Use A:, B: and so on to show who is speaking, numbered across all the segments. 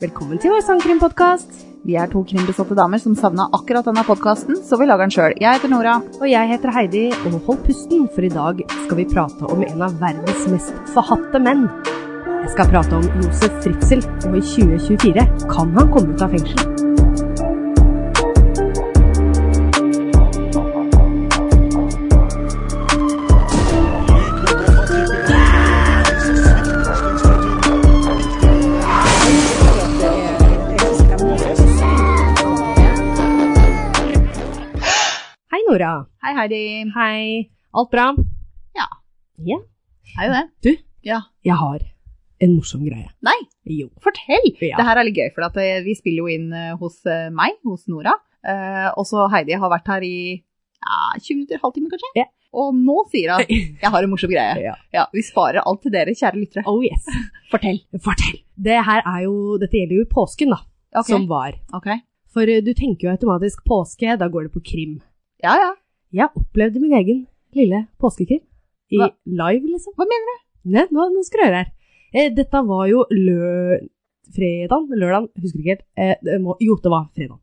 A: Velkommen til vår sangkrimpodkast.
B: Vi er to krimbesatte damer som savna akkurat denne podkasten, så vi lager den sjøl. Jeg heter Nora.
A: Og jeg heter Heidi, og hold pusten, for i dag skal vi prate om en av verdens mest forhatte menn. Jeg skal prate om Josef Fritzel, og i 2024 kan han komme ut av fengsel. Hei, Nora.
B: Hei, Heidi.
A: Hei. Alt bra?
B: Er jo det.
A: Du?
B: Ja.
A: Jeg har en morsom greie.
B: Nei,
A: Jo.
B: fortell!
A: Ja.
B: Det her er litt gøy, for at eh, vi spiller jo inn eh, hos eh, meg, hos Nora. Eh, og så Heidi har vært her i ja, 20 minutter, halvtime kanskje.
A: Ja.
B: Og nå sier hun at jeg har en morsom greie.
A: Ja.
B: vi sparer alt til dere, kjære lyttere.
A: Oh yes.
B: Fortell.
A: Fortell. Det her er jo, dette gjelder jo påsken, da,
B: Ok.
A: som var.
B: ok.
A: For eh, du tenker jo automatisk påske, da går det på krim.
B: Ja, ja.
A: Jeg opplevde min egen lille påskekrim. I
B: Hva-
A: live, liksom.
B: Hva
A: mener du? Nei, nå, nå skal du høre her. Eh, dette var jo lø... Fredagen? Lørdagen? Husker ikke helt. Eh, det må, jo, det var fredagen.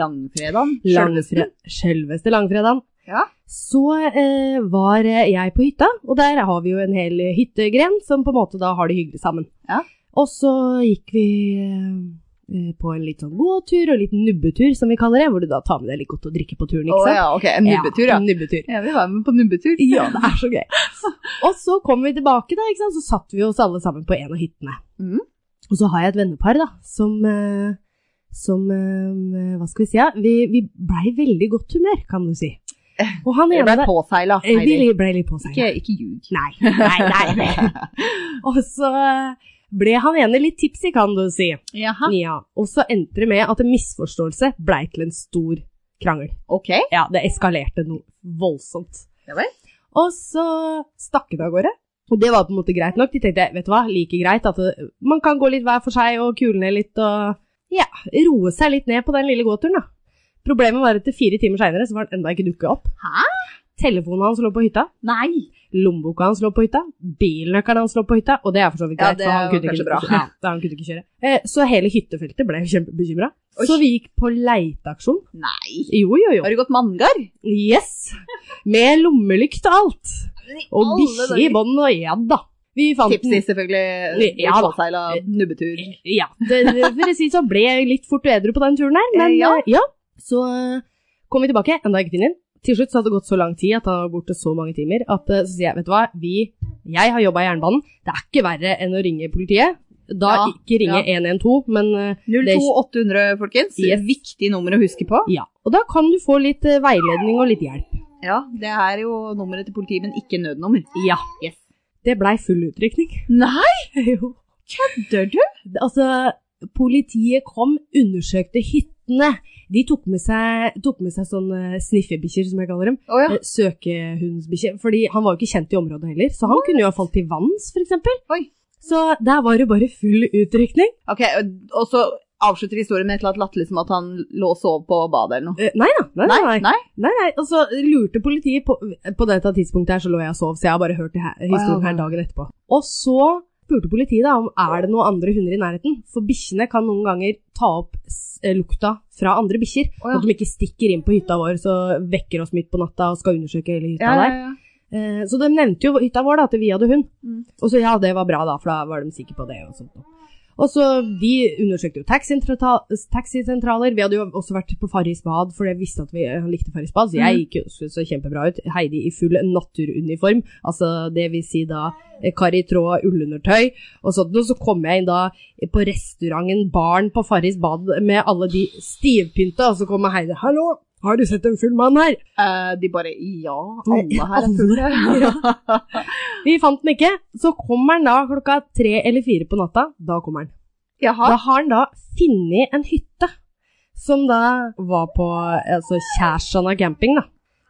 B: Langfredagen.
A: Langfre- Selveste langfredagen.
B: Ja.
A: Så eh, var eh, jeg på hytta, og der har vi jo en hel hyttegren som på en måte da har det hyggelig sammen.
B: Ja.
A: Og så gikk vi eh, på en litt sånn gåtur og en liten nubbetur, som vi kaller det, hvor du da tar med deg litt godt å drikke på turen,
B: Å
A: ikke sant?
B: ja, ok. En nubbetur, ja.
A: En nubbetur.
B: Ja, vi var med på nubbetur.
A: liksom. Ja, det er så gøy. Og så kom vi tilbake, da, ikke sant? så satt vi oss alle sammen på en av hyttene.
B: Mhm.
A: Og så har jeg et vennepar da, som, eh, som eh, Hva skal vi si? Ja? Vi, vi blei i veldig godt humør, kan du si. Og han
B: Vi
A: ene
B: ble
A: der
B: påseila,
A: eh, Vi
B: Heidi.
A: li- blei litt på seg.
B: Ikke, ikke ljug.
A: Nei, nei, nei. nei. Og så ble han ene litt tipsy, kan du si.
B: Jaha.
A: Ja. Og så endte det med at en misforståelse blei til en stor krangel.
B: Ok.
A: Ja, det eskalerte noe voldsomt.
B: Ja vel.
A: Og så stakk hun av gårde. Og det var på en måte greit nok. De tenkte, vet du hva, like greit at det, man kan gå litt hver for seg og kule ned litt og ja, roe seg litt ned på den lille gåturen, da. Problemet var at fire timer seinere så var han enda ikke dukket opp.
B: Hæ?
A: Telefonen hans lå på hytta,
B: Nei.
A: lommeboka hans lå på hytta, bilnøkkelen hans lå på hytta, og det er for så vidt
B: Ja,
A: greit.
B: det
A: for han
B: var
A: kunne
B: kanskje
A: ikke,
B: bra.
A: Ja, han kunne ikke kjøre. Eh, Så hele hyttefeltet ble kjempebekymra.
B: Oi.
A: Så vi gikk på leiteaksjon.
B: Nei.
A: Jo, jo, jo.
B: Har du gått manngard?
A: Yes! Med lommelykt og alt. Og
B: Alle
A: bikkje i
B: dager.
A: bånd og ja da. Vi fant
B: Tipsy,
A: den.
B: selvfølgelig.
A: Ja, da.
B: Påseila nubbetur.
A: Ja, det, det- for å si så ble jeg litt fort edru på den turen her, men
B: Eh, ja.
A: eh, ja. Så eh, kom vi tilbake, enda ikke finner den. Til slutt så hadde det gått så lang tid at han var borte så mange timer, at eh, så sier jeg, vet du hva, vi, jeg har jobba i jernbanen, det er ikke verre enn å ringe politiet. Da
B: Ja,
A: ikke ringe 112, men eh,
B: 02800, folkens.
A: Yes.
B: Viktig nummer å huske på.
A: ja. Og da kan du få litt eh, veiledning og litt hjelp.
B: Ja, det er jo nummeret til politiet, men ikke nødnummer.
A: Ja.
B: Yes.
A: Det blei full utrykning.
B: Nei,
A: jo.
B: dør du?
A: Det- Altså, politiet kom, undersøkte hyttene. De tok med seg, tok med seg sånne sniffebikkjer, som jeg kaller dem.
B: Å ja.
A: Eh, Søkehundsbikkjer. Fordi han var jo ikke kjent i området heller, så han kunne jo ha falt til vanns, f.eks.
B: Oi.
A: Så der var det bare full utrykning.
B: Ok, og- og så avslutter historien med et eller annet latterlig som at han lå og sov på badet eller noe.
A: Eh, Nei da. Nei, nei, nei.
B: nei.
A: nei, nei. Og så lurte politiet på, på dette tidspunktet her, så lå jeg og sov, så jeg har bare hørt det her, historien her dagen etterpå. Og så spurte politiet da om er det noen andre hunder i nærheten, for bikkjene kan noen ganger ta opp s- eh, lukta fra andre bikkjer.
B: Å,
A: Sånn at de ikke stikker inn på hytta vår så vekker oss midt på natta og skal undersøke hele hytta
B: Ja, ja,
A: der.
B: ja.
A: Eh, så de nevnte jo hytta vår, da, at vi hadde hund.
B: Mm.
A: Og så ja, det var bra, da, for da var de sikre på det. Og sånt. Og så de undersøkte jo taxisentrata- taxisentraler. Vi hadde jo også vært på Farris bad, for jeg visste at vi eh, likte Farris bad, så jeg
B: Mm.
A: gikk jo så, så kjempebra ut. Heidi i full naturuniform, altså det vil si da eh, kar i tråd, ullundertøy og sånt. Og så kom jeg inn da eh, på restauranten Barn på Farris bad med alle de stivpynta, og så kommer Heidi. Hallo, har du sett en full mann her?
B: Eh, de bare Ja, alle her er
A: Alle.
B: fulle.
A: Vi fant den ikke. Så kommer den da klokka tre eller fire på natta. Da kommer den.
B: Jaha.
A: Da har den da funnet en hytte som da var på altså Kjærsana camping, da.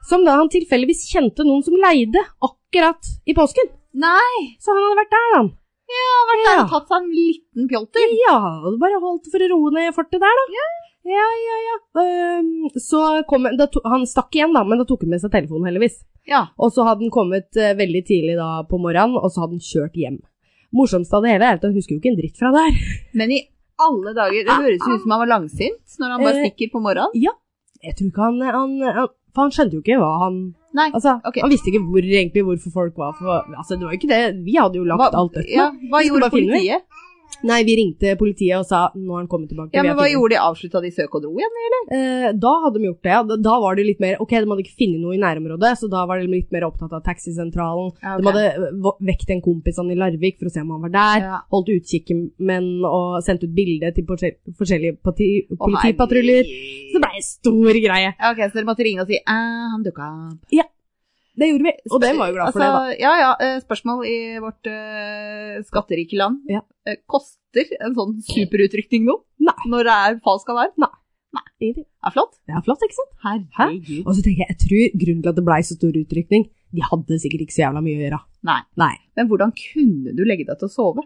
A: Som da han tilfeldigvis kjente noen som leide akkurat i påsken.
B: Nei,
A: Så han hadde vært der, da.
B: han har vært der og
A: Ja.
B: tatt seg en liten pjolter.
A: Ja, og bare holdt for å roe ned fortet der, da. Ja, ja, ja. Ehm, så kom da to, Han stakk igjen, da, men da tok han med seg telefonen, heldigvis.
B: Ja.
A: Og så hadde han kommet eh, veldig tidlig da på morgenen, og så hadde han kjørt hjem. Morsomst av det hele er at han husker jo ikke en dritt fra det her.
B: Men i alle dager. Det høres jo ut som han var langsint når han bare
A: Eh,
B: stikker på morgenen.
A: Jeg tror ikke han, han, han For han skjønte jo ikke hva han
B: Nei.
A: Altså,
B: Ok.
A: Han visste ikke hvor, egentlig hvorfor folk var for, Altså, det var jo ikke det. Vi hadde jo lagt
B: Hva,
A: alt dødt.
B: ja, hva
A: Vi skulle
B: gjorde
A: bare finne det.
B: politiet?
A: Nei, vi ringte politiet og sa nå har han kommet tilbake.
B: Ja,
A: vi
B: men
A: har
B: Hva
A: funnet
B: gjorde de? Avslutta de søk og dro igjen? eller?
A: Eh, da hadde de gjort det. ja. Da- Da var det litt mer Ok, de hadde ikke funnet noe i nærområdet, så da var de litt mer opptatt av taxisentralen.
B: Ja,
A: De hadde eh, v- vekt en kompis han i Larvik for å se om han var der.
B: Ja.
A: Holdt utkikken men og sendt ut bilde til porse- forskjellige parti politipatruljer. Så det
B: Så
A: blei en stor greie.
B: Ok, så dere måtte ringe og si eh, han dukka opp.
A: Det gjorde vi, og det var jo glad for det, da.
B: Altså, Ja ja, eh, spørsmål i vårt eh, skatterike land.
A: Ja.
B: Eh, koster en sånn superutrykning noe?
A: Nei.
B: Når det er falsk alarm?
A: Altså, Ingenting.
B: Det er flott.
A: Det er flott, ikke sant?
B: Herregud.
A: Og så tenker jeg, jeg tror grunnen til at det blei så stor utrykning, de hadde sikkert ikke så jævla mye å gjøre.
B: Nei.
A: Nei.
B: Men hvordan kunne du legge deg til å sove?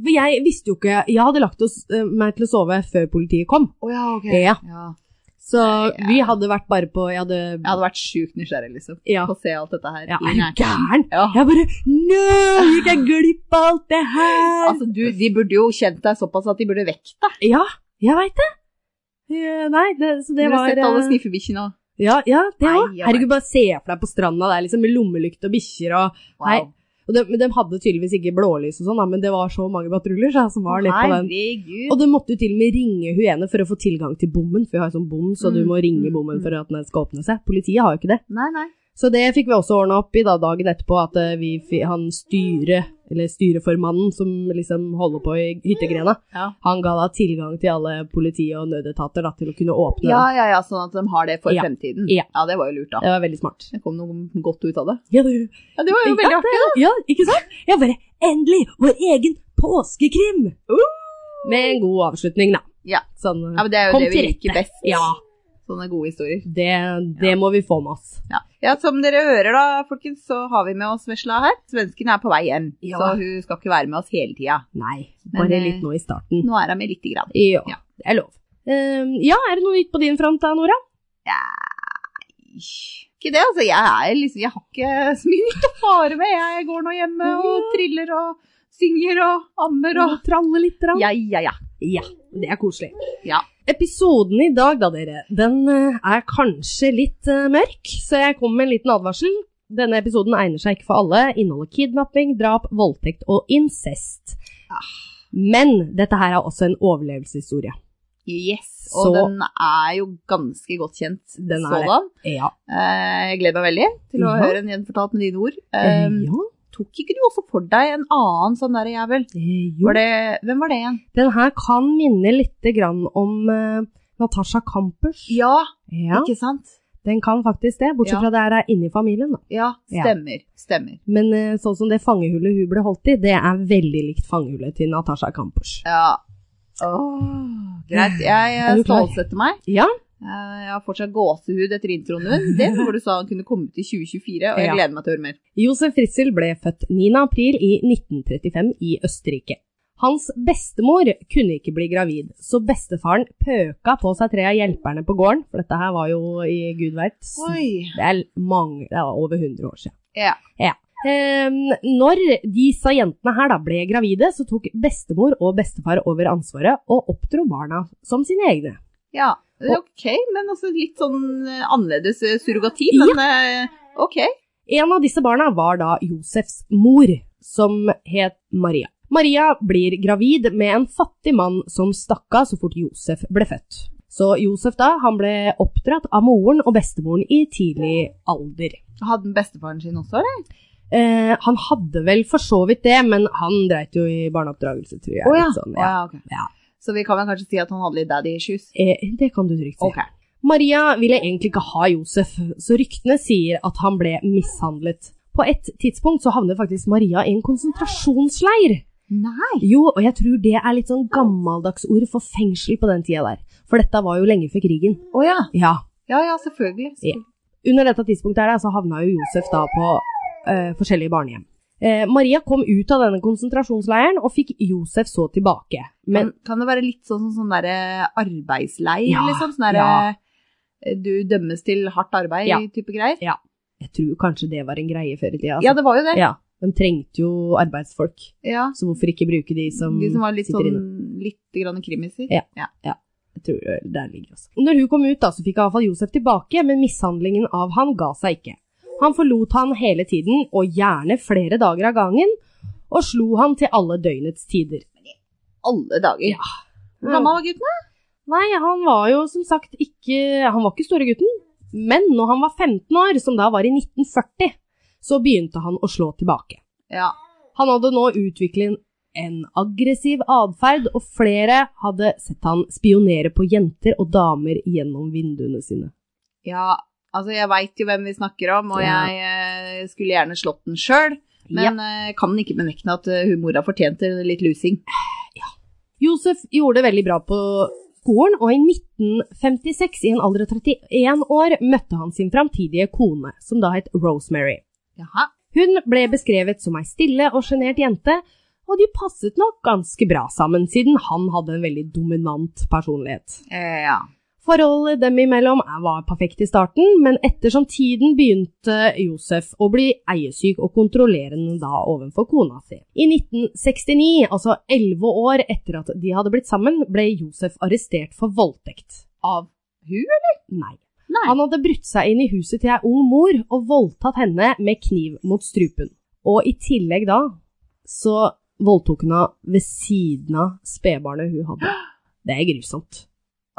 A: For jeg visste jo ikke Jeg hadde lagt oss, eh, meg til å sove før politiet kom.
B: Å ja, ok.
A: Ja.
B: Ja.
A: Så vi hadde vært bare på Jeg hadde
B: Jeg hadde vært sjukt nysgjerrig liksom,
A: Ja.
B: på å se alt dette her.
A: Ja,
B: i
A: er du
B: nærkamp.
A: gæren?
B: Ja.
A: Jeg bare Nå gikk jeg glipp av alt det her!
B: Altså, du, de burde jo kjent deg såpass at de burde vekt deg.
A: Ja, jeg veit det. Eh, Nei, det, så det
B: du
A: var
B: har sett alle
A: eh,
B: sniffebikkjene og
A: Ja, ja, det
B: Nei,
A: òg.
B: ja,
A: Herregud, bare se for deg på stranda der, liksom, med lommelykt og bikkjer og Nei, og de, men de hadde tydeligvis ikke blålys og sånn, da, men det var så mange patruljer så jeg som var litt på den.
B: Herregud.
A: Og du måtte jo til og med ringe hun ene for å få tilgang til bommen, for vi har jo sånn bom, så du
B: Mm,
A: må ringe
B: mm,
A: bommen
B: mm.
A: for at den skal åpne seg. Politiet har jo ikke det.
B: Nei, nei.
A: Så det fikk vi også ordna opp i da, dagen etterpå, at eh, vi, fi- han styre, eller styreformannen som liksom holder på i hyttegrena,
B: Ja.
A: han ga da tilgang til alle politi og nødetater da, til å kunne åpne
B: ja,
A: den.
B: ja, ja, sånn at de har det for
A: Ja.
B: fremtiden.
A: Ja.
B: det var jo lurt, da.
A: Det var veldig smart.
B: Det kom noe godt ut av det.
A: Ja, det,
B: Ja, Det var jo
A: Ja,
B: veldig artig.
A: det- ja, ikke sant? Jeg bare Endelig! Vår egen påskekrim! Med en god avslutning, da.
B: Uh! Ja.
A: Sånn
B: Ja, men Det er jo
A: Kom
B: det vi
A: til
B: liker
A: rette.
B: best.
A: Ja,
B: Sånne gode historier.
A: det, det må vi få med oss.
B: Ja. ja, Som dere hører, da, folkens, så har vi med oss vesla her. Svensken er på vei hjem,
A: Ja.
B: så hun skal ikke være med oss hele tida.
A: Nei,
B: Men,
A: bare
B: eh,
A: litt nå i starten.
B: Nå er hun med lite grann.
A: Ja,
B: Ja.
A: det er lov. Ehm, ja, er det noe nytt på din front da, Nora?
B: Ikke det, altså. Jeg, er liksom, jeg har ikke så mye nytt å fare med. Jeg går nå hjemme og triller og synger og ammer og
A: tralle litt? grann?
B: Ja, ja, ja.
A: Ja, det er koselig.
B: Ja.
A: Episoden i dag, da, dere, den eh, er kanskje litt eh, mørk, så jeg kommer med en liten advarsel. Denne episoden egner seg ikke for alle. Inneholder kidnapping, drap, voldtekt og incest.
B: Ah.
A: Men dette her er også en overlevelseshistorie.
B: Yes, og
A: Så-
B: den er jo ganske godt kjent
A: Den er det.
B: sådan.
A: Ja.
B: Eh, Jeg gleder meg veldig til å
A: Ja.
B: høre en gjenfortalt med dine ord. Eh,
A: Eh, ja.
B: Tok ikke du også for deg en annen sånn derre jævel?
A: Eh, jo.
B: Var det, hvem var det igjen?
A: Den her kan minne litt grann om eh, Natasha Campers.
B: Ja,
A: Ja,
B: ikke sant?
A: den kan faktisk det, bortsett
B: Ja.
A: fra det her er inni familien. Da.
B: Ja,
A: Ja.
B: stemmer. Stemmer.
A: Men eh, sånn som det fangehullet hun ble holdt i, det er veldig likt fangehullet til Natasha Campers.
B: Ja. Åh, greit, jeg eh,
A: Er du klar?
B: stålsetter meg.
A: Ja,
B: Eh, Jeg har fortsatt gåsehud etter introen din. Det hvor du sa han kunne komme ut i 2024, og jeg
A: Ja.
B: gleder meg til å høre mer.
A: Josef Fritzl ble født 9. april i 1935 i Østerrike. Hans bestemor kunne ikke bli gravid, så bestefaren pøka på seg tre av hjelperne på gården, for dette her var jo i gud veit
B: Oi.
A: Det er mange, det er over 100 år siden.
B: Ja.
A: Ehm, når disse jentene her da ble gravide, så tok bestemor og bestefar over ansvaret og oppdro barna som sine egne.
B: Ja, det er ok, men altså litt sånn eh, annerledes eh, surrogati, men eh, ok.
A: En av disse barna var da Josefs mor, som het Maria. Maria blir gravid med en fattig mann som stakk av så fort Josef ble født. Så Josef da, han ble oppdratt av moren og bestemoren i tidlig alder.
B: Hadde den bestefaren sin også, eller?
A: Eh, han hadde vel for så vidt det, men han dreit jo i barneoppdragelse, tror jeg.
B: Å,
A: litt Sånn,
B: Å,
A: ja.
B: ja, ok.
A: Ja.
B: Så vi kan vel kanskje si at han hadde litt daddy issues?
A: Eh, det kan du trygt si.
B: Ok.
A: Maria ville egentlig ikke ha Josef, så ryktene sier at han ble mishandlet. På et tidspunkt så havner faktisk Maria i en konsentrasjonsleir.
B: Nei!
A: Jo, og jeg tror det er litt sånn gammeldags ord for fengsel på den tida der. For dette var jo lenge før krigen.
B: Å ja.
A: Ja.
B: Ja, ja, selvfølgelig.
A: Ja. Under dette tidspunktet her da, så havna jo Josef da på eh, forskjellige barnehjem. Eh, Maria kom ut av denne konsentrasjonsleiren og fikk Josef så tilbake. Men
B: Men kan det være litt sånn, sånn derre arbeidsleir,
A: Ja,
B: liksom? Sånn derre
A: ja.
B: eh, du dømmes til hardt arbeid
A: Ja.
B: type greier?
A: jeg tror kanskje det var en greie før i tida.
B: Ja, det var jo det.
A: Ja. De trengte jo arbeidsfolk,
B: Ja,
A: så hvorfor ikke bruke de som,
B: de som var litt
A: sitter
B: sånn
A: inne?
B: litt grann krimiser.
A: Ja. Jeg tror eh, der ligger også. Når hun kom ut, da, så fikk iallfall Josef tilbake, men mishandlingen av han ga seg ikke. Han forlot han hele tiden, og gjerne flere dager av gangen, og slo han til alle døgnets tider.
B: Alle dager.
A: Ja.
B: Hvor gammel var gutten? da?
A: Nei, han var jo som sagt ikke Han var ikke store gutten, men når han var 15 år, som da var i 1940, så begynte han å slå tilbake.
B: Ja.
A: Han hadde nå utviklet en aggressiv atferd, og flere hadde sett han spionere på jenter og damer gjennom vinduene sine.
B: ja. Altså, jeg veit jo hvem vi snakker om, og
A: Ja.
B: jeg eh, skulle gjerne slått den sjøl.
A: Ja.
B: Men eh, kan ikke benekte at eh, hun mora fortjente litt lusing.
A: Josef gjorde det veldig bra på skolen, og i 1956, i en alder av 31 år, møtte han sin framtidige kone, som da het Rosemary.
B: Jaha.
A: Hun ble beskrevet som ei stille og sjenert jente, og de passet nok ganske bra sammen, siden han hadde en veldig dominant personlighet.
B: Eh, ja.
A: Forholdet dem imellom var perfekt i starten, men ettersom tiden begynte Josef å bli eiesyk og kontrollerende da overfor kona si. I 1969, altså elleve år etter at de hadde blitt sammen, ble Josef arrestert for voldtekt.
B: Av hun, eller?
A: Nei.
B: Nei.
A: Han hadde brutt seg inn i huset til ei ung mor og voldtatt henne med kniv mot strupen. Og i tillegg da, så voldtok hun henne ved siden av spedbarnet hun hadde. Det er grusomt.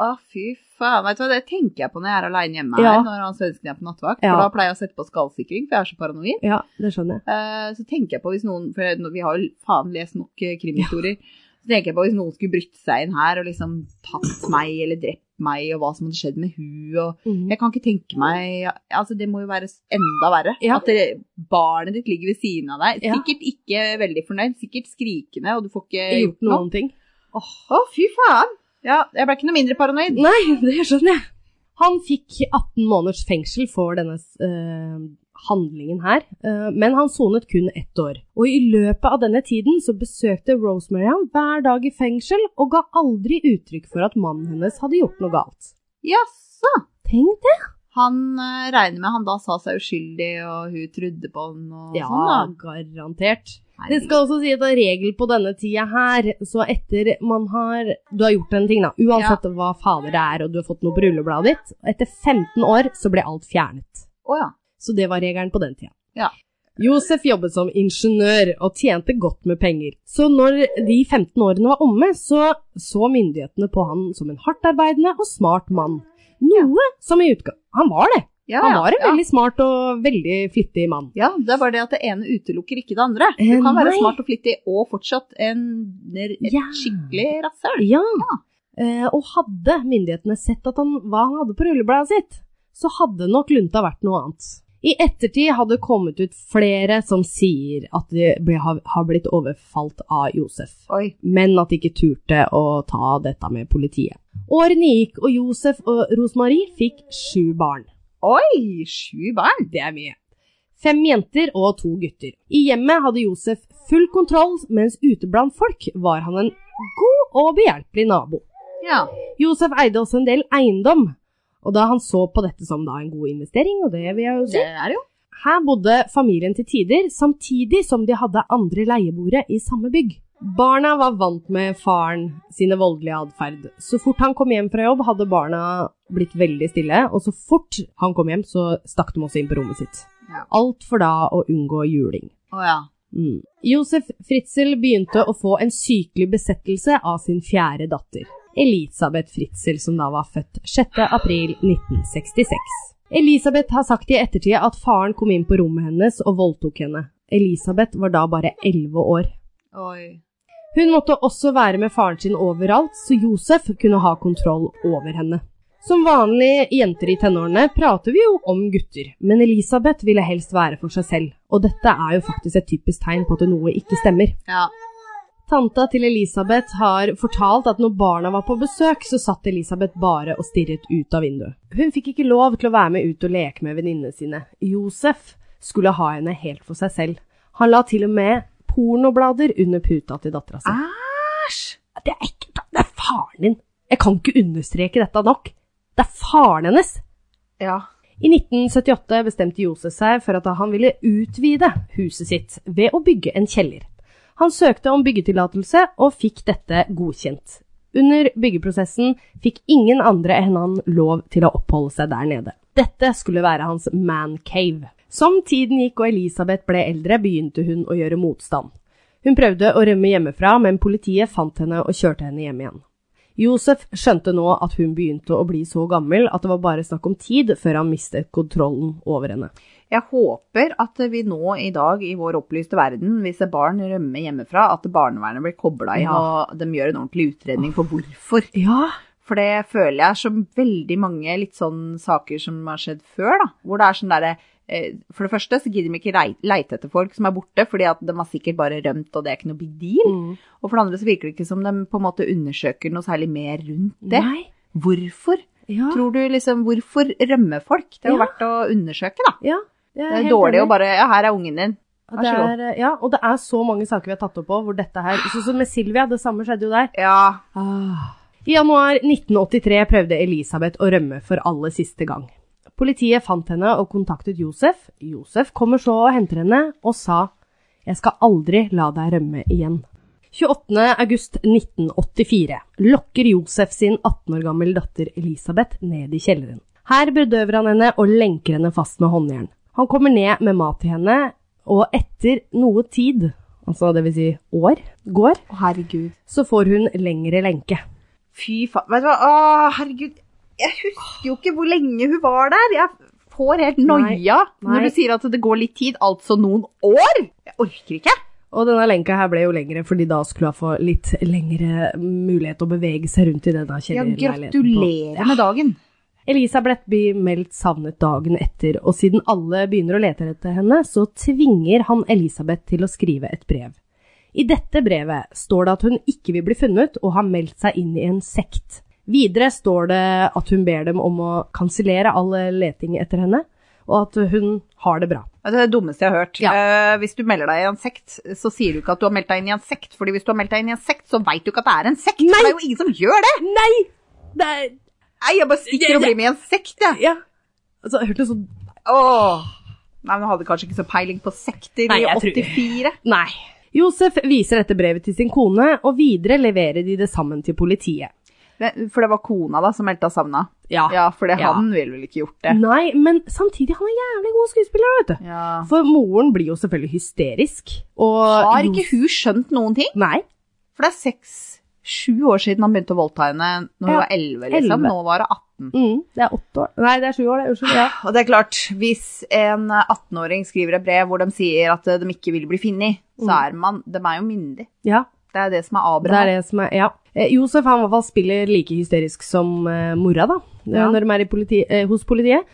B: Å, fy faen. Vet du hva, det tenker jeg på når jeg er aleine hjemme
A: Ja.
B: her, når han svensken er på nattevakt.
A: Ja.
B: For da pleier jeg å sette på skallsikring, for jeg er så paranoid.
A: Ja, det skjønner jeg.
B: Eh, så tenker jeg på hvis noen For nå- vi har jo faen lest nok eh, krimhistorier. Så tenker jeg på hvis noen skulle brytt seg inn her og liksom tatt meg eller drept meg, og hva som hadde skjedd med hun og
A: Mhm.
B: Jeg kan ikke tenke meg ja, Altså, det må jo være s- enda verre.
A: Ja.
B: At det, barnet ditt ligger ved siden av deg.
A: Ja.
B: Sikkert ikke veldig fornøyd, sikkert skrikende, og du får ikke
A: Ikke gjort noen ting.
B: Åh, å, fy faen! Ja, jeg ble ikke noe mindre paranoid.
A: Nei, det skjønner jeg. Han fikk 18 måneders fengsel for denne eh, handlingen her, eh, men han sonet kun ett år. Og i løpet av denne tiden så besøkte Rosemary ham hver dag i fengsel og ga aldri uttrykk for at mannen hennes hadde gjort noe galt.
B: Jaså.
A: Tenk det!
B: Han eh, regner med han da sa seg uskyldig, og hun trodde på han og
A: Ja,
B: sånn,
A: garantert.
B: da.
A: Det skal også si at det er regel på denne tida her, så etter man har Du har gjort en ting, da. Uansett hva fader det er, og du har fått noe på rullebladet ditt. Etter 15 år så ble alt fjernet.
B: Å ja.
A: Så det var regelen på den tida.
B: Ja.
A: Josef jobbet som ingeniør og tjente godt med penger. Så når de 15 årene var omme, så så myndighetene på han som en hardtarbeidende og smart mann. Noe som i utgang... Han var det!
B: Ja,
A: Han
B: ja,
A: var en
B: ja.
A: veldig smart og veldig flittig mann.
B: Ja, det er bare det at det ene utelukker ikke det andre. Du
A: Eh,
B: kan være
A: nei.
B: smart og flittig og fortsatt en, et
A: Ja.
B: skikkelig rasshøl.
A: Ja. Eh, og hadde myndighetene sett at han, hva han hadde på rullebladet sitt, så hadde nok lunta vært noe annet. I ettertid hadde det kommet ut flere som sier at de ble, har, har blitt overfalt av Josef.
B: Oi.
A: men at de ikke turte å ta dette med politiet. Årene gikk, og Josef og Rosemarie fikk sju barn.
B: Oi, sju barn!
A: Det er mye. Fem jenter og to gutter. I hjemmet hadde Josef full kontroll, mens ute blant folk var han en god og behjelpelig nabo.
B: Ja.
A: Josef eide også en del eiendom, og da han så på dette som da en god investering, og det vil jeg jo si,
B: Det er jo.
A: her bodde familien til tider, samtidig som de hadde andre leieboere i samme bygg. Barna var vant med faren sine voldelige atferd. Så fort han kom hjem fra jobb, hadde barna blitt veldig stille, og så fort han kom hjem, så stakk de også inn på rommet sitt.
B: Ja.
A: Alt for da å unngå juling.
B: Å ja.
A: Mm. Josef Fritzel begynte å få en sykelig besettelse av sin fjerde datter, Elisabeth Fritzel, som da var født 6. april 1966. Elisabeth har sagt i ettertid at faren kom inn på rommet hennes og voldtok henne. Elisabeth var da bare 11 år.
B: Oi.
A: Hun måtte også være med faren sin overalt, så Josef kunne ha kontroll over henne. Som vanlige jenter i tenårene prater vi jo om gutter, men Elisabeth ville helst være for seg selv, og dette er jo faktisk et typisk tegn på at noe ikke stemmer.
B: Ja.
A: Tanta til Elisabeth har fortalt at når barna var på besøk, så satt Elisabeth bare og stirret ut av vinduet. Hun fikk ikke lov til å være med ut og leke med venninnene sine. Josef skulle ha henne helt for seg selv. Han la til og med pornoblader under puta til dattera si.
B: Æsj!
A: Det er ekkelt. Det er faren din. Jeg kan ikke understreke dette nok. Det er faren hennes.
B: Ja.
A: I 1978 bestemte Josef seg for at han ville utvide huset sitt ved å bygge en kjeller. Han søkte om byggetillatelse og fikk dette godkjent. Under byggeprosessen fikk ingen andre enn han lov til å oppholde seg der nede. Dette skulle være hans man cave. Som tiden gikk og Elisabeth ble eldre, begynte hun å gjøre motstand. Hun prøvde å rømme hjemmefra, men politiet fant henne og kjørte henne hjem igjen. Josef skjønte nå at hun begynte å bli så gammel at det var bare snakk om tid før han mistet kontrollen over henne.
B: Jeg håper at vi nå i dag i vår opplyste verden, hvis et barn rømmer hjemmefra, at barnevernet blir kobla inn
A: Ja.
B: og de gjør en ordentlig utredning på hvorfor.
A: Ja,
B: For det føler jeg er som veldig mange litt sånn saker som har skjedd før, da. Hvor det er sånn derre eh, For det første så gidder de ikke rei- leite etter folk som er borte, fordi at de har sikkert bare rømt, og det er ikke noe big deal.
A: Mm.
B: Og for det andre så virker det ikke som de på en måte undersøker noe særlig mer rundt det.
A: Nei.
B: Hvorfor?
A: Ja.
B: Tror du liksom Hvorfor rømmer folk? Det er jo
A: Ja.
B: verdt å undersøke, da.
A: ja. jeg
B: Det er
A: helt
B: dårlig
A: enig.
B: å bare Ja, her er ungen din.
A: Ja,
B: Vær så god. Ah.
A: Det er, ja, og det er så mange saker vi har tatt opp på hvor dette her Sånn som med Silvia, det samme skjedde jo der.
B: Ja.
A: Ah. I januar 1983 prøvde Elisabeth å rømme for aller siste gang. Politiet fant henne og kontaktet Josef. Josef kommer så og henter henne og sa «Jeg skal aldri la deg rømme igjen». 28. august 1984 lokker Josef sin 18 år gammel datter Elisabeth ned i kjelleren. Her bedøver han henne og lenker henne fast med håndjern. Han kommer ned med mat til henne, og etter noe tid, altså det vil si år, går,
B: Å, herregud.
A: så får hun lengre lenke.
B: Fy faen. Vet du hva, å, herregud. Jeg husker jo ikke hvor lenge hun var der. Jeg får helt noia
A: Nei.
B: når du sier at det går litt tid, altså noen år. Jeg orker ikke.
A: Og denne lenka her ble jo lengre, fordi da skulle hun få litt lengre mulighet å bevege seg rundt i denne
B: Ja,
A: kjellerleiligheten.
B: gratulerer med dagen.
A: Elisabeth blir meldt savnet dagen etter, og siden alle begynner å lete etter henne, så tvinger han Elisabeth til å skrive et brev. I dette brevet står det at hun ikke vil bli funnet, og har meldt seg inn i en sekt. Videre står det at hun ber dem om å kansellere all leting etter henne, og at hun har det bra.
B: Det er det dummeste jeg har hørt.
A: Ja.
B: Eh, hvis du melder deg i en sekt, så sier du ikke at du har meldt deg inn i en sekt. fordi hvis du har meldt deg inn i en sekt, så veit du ikke at det er en sekt.
A: Nei.
B: For det er jo ingen som gjør det.
A: Nei! Det er
B: Nei, jeg bare stikker og blir med i en sekt, jeg.
A: Ja. Altså, jeg hørte sånn
B: Åh. Nei, men jeg hadde kanskje ikke så peiling på sekter
A: Nei,
B: i
A: jeg tror-
B: 84.
A: Nei. Josef viser dette brevet til sin kone, og videre leverer de det sammen til politiet.
B: Men- For det var kona da som meldte savna. Ja, for det,
A: Ah, Ja.
B: han ville vel ikke gjort det.
A: Nei, men samtidig, han er jævlig god skuespiller, vet du.
B: Ja.
A: For moren blir jo selvfølgelig hysterisk, og
B: Har ikke hun skjønt noen ting?
A: Nei.
B: For det er seks, sju år siden han begynte å voldta henne når hun
A: Ja,
B: var elleve, liksom.
A: 11.
B: Nå var hun 18.
A: Mm, det er åtte år Nei, det er sju år, det. Unnskyld. Ja.
B: Og det er klart, hvis en 18-åring skriver et brev hvor de sier at eh, de ikke vil bli funnet, så er man De er jo myndig.
A: ja.
B: Det er det som er
A: Mm. Det
B: Abraham.
A: er det som er Ja. Eh, Josef han i hvert fall spiller like hysterisk som eh, mora, da, eh,
B: Ja.
A: når de er i politi eh, hos politiet.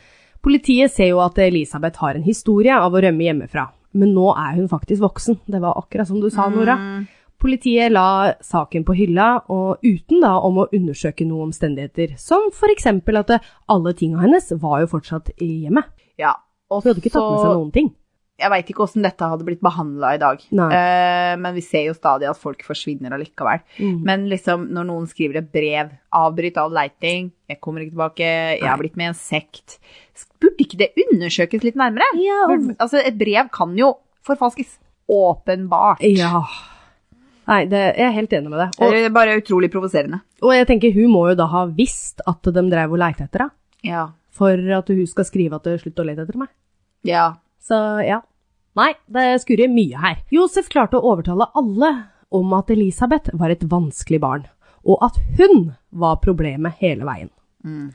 A: Politiet ser jo at Elisabeth har en historie av å rømme hjemmefra, men nå er hun faktisk voksen. Det var akkurat som du sa,
B: Mm.
A: Nora. Politiet la saken på hylla, og uten da om å undersøke noen omstendigheter, som for eksempel at eh, alle tinga hennes var jo fortsatt i hjemmet.
B: Ja. Og
A: Hun hadde ikke tatt med seg noen ting.
B: Jeg veit ikke åssen dette hadde blitt behandla i dag,
A: Nei.
B: Eh, men vi ser jo stadig at folk forsvinner allikevel.
A: Mm.
B: Men liksom, når noen skriver et brev, avbryt all leiting, jeg kommer ikke tilbake, jeg har blitt med i en sekt, burde ikke det undersøkes litt nærmere?
A: Ja,
B: Burde- Altså, et brev kan jo forfalskes. Åpenbart.
A: ja. Nei, det, jeg er helt enig med deg.
B: Og,
A: Og,
B: det er bare utrolig provoserende.
A: og jeg tenker hun må jo da ha visst at de drev og leita etter henne.
B: Ja.
A: for at hun skal skrive at hun slutter å lete etter meg.
B: Ja.
A: Så ja. Nei, det skurrer mye her. Josef klarte å overtale alle om at Elisabeth var et vanskelig barn, og at hun var problemet hele veien.
B: Mm.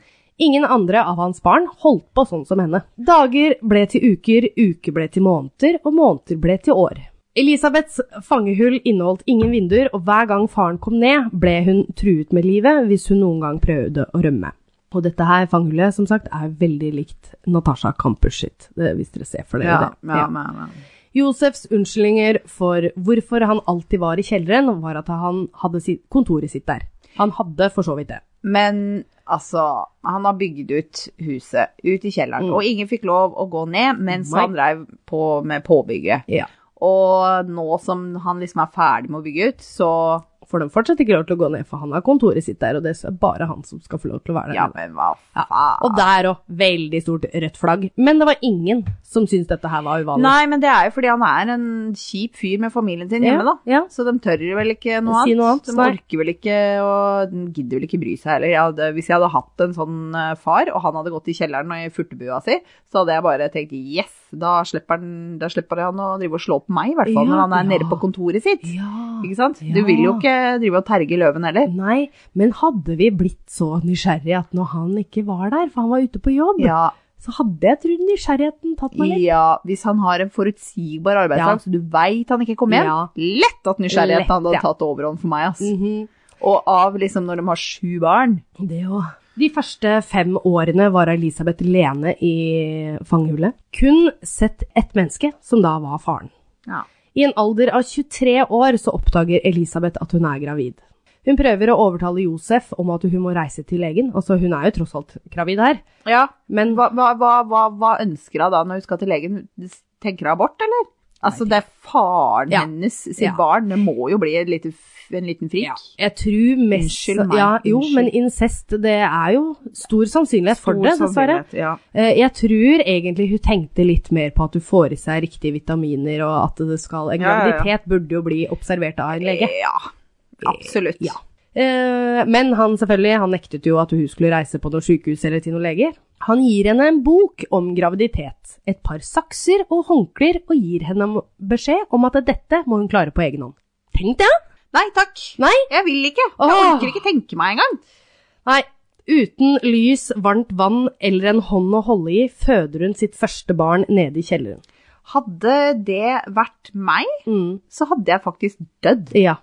A: Ingen andre av hans barn holdt på sånn som henne. Dager ble til uker, uker ble til måneder, og måneder ble til år. Elisabeths fangehull inneholdt ingen vinduer, og hver gang faren kom ned, ble hun truet med livet hvis hun noen gang prøvde å rømme. Og dette her fangehullet, som sagt, er veldig likt Natasha Campus sitt, det- hvis dere ser for dere
B: Ja,
A: det.
B: ja, ja, ja.
A: Josefs unnskyldninger for hvorfor han alltid var i kjelleren, var at han hadde sitt- kontoret sitt der. Han hadde for så vidt det.
B: Men altså, han har bygd ut huset, ut i kjelleren, og ingen fikk lov å gå ned mens
A: Nei.
B: han drev på med påbygget.
A: Ja.
B: Og nå som han liksom er ferdig med å bygge ut, så
A: får de fortsatt ikke lov til å gå ned, for han har kontoret sitt der, og det er bare han som skal få lov til å være der.
B: Ja, men hva faen?
A: Og der òg, veldig stort rødt flagg. Men det var ingen som syntes dette her var uvanlig.
B: Nei, men det er jo fordi han er en kjip fyr med familien sin hjemme, da.
A: Ja,
B: Så de tør vel ikke noe
A: Si
B: annet.
A: noe annet,
B: De
A: nei.
B: orker vel ikke, og de gidder vel ikke bry seg heller. Jeg hadde, hvis jeg hadde hatt en sånn eh, far, og han hadde gått i kjelleren og i furtebua si, så hadde jeg bare tenkt yes, da slipper han, da slipper han å drive og slå på meg, i hvert fall
A: Ja,
B: når han er
A: ja.
B: nede på kontoret sitt.
A: ja.
B: Ikke sant? Du
A: Ja.
B: vil jo ikke drive og terge løven heller.
A: Nei, men hadde vi blitt så nysgjerrige at når han ikke var der, for han var ute på jobb,
B: Ja,
A: så hadde jeg trodd nysgjerrigheten tatt meg litt.
B: ja, hvis han har en forutsigbar arbeidsdag,
A: Ja.
B: så du veit han ikke kommer hjem.
A: Ja.
B: Lett at nysgjerrigheten
A: Lett,
B: hadde
A: ja.
B: tatt overhånd for meg. ass.
A: Mhm.
B: Og av liksom når de har sju barn.
A: Det òg. De første fem årene var Elisabeth Lene i fangehullet. Kun sett ett menneske, som da var faren.
B: Ja.
A: I en alder av 23 år så oppdager Elisabeth at hun er gravid. Hun prøver å overtale Josef om at hun må reise til legen, altså hun er jo tross alt gravid her, men
B: Hva, hva, hva, hva, hva ønsker hun da når hun skal til legen? Tenker hun abort, eller? Altså, det er faren
A: Ja.
B: hennes sitt
A: Ja.
B: barn. Det må jo bli et lite, f- en liten frik.
A: jeg tror mest
B: Unnskyld meg,
A: Ja, jo,
B: unnskyld.
A: men incest, det er jo stor sannsynlighet for det, dessverre.
B: Ja.
A: Eh, Jeg tror egentlig hun tenkte litt mer på at du får i seg riktige vitaminer, og at det skal En
B: Ja, ja, ja.
A: graviditet burde jo bli observert av en lege.
B: ja. Absolutt.
A: Ja. Eh, Men han selvfølgelig, han nektet jo at hun skulle reise på noe sykehus eller til noen leger. Han gir henne en bok om graviditet, et par sakser og håndklær, og gir henne beskjed om at dette må hun klare på egen hånd. Tenk det!
B: Nei takk.
A: Nei.
B: Jeg vil ikke. Jeg
A: Åh.
B: orker ikke tenke meg engang.
A: Nei, uten lys, varmt vann eller en hånd å holde i, føder hun sitt første barn nede i kjelleren.
B: Hadde det vært meg,
A: Mm.
B: så hadde jeg faktisk dødd.
A: Ja.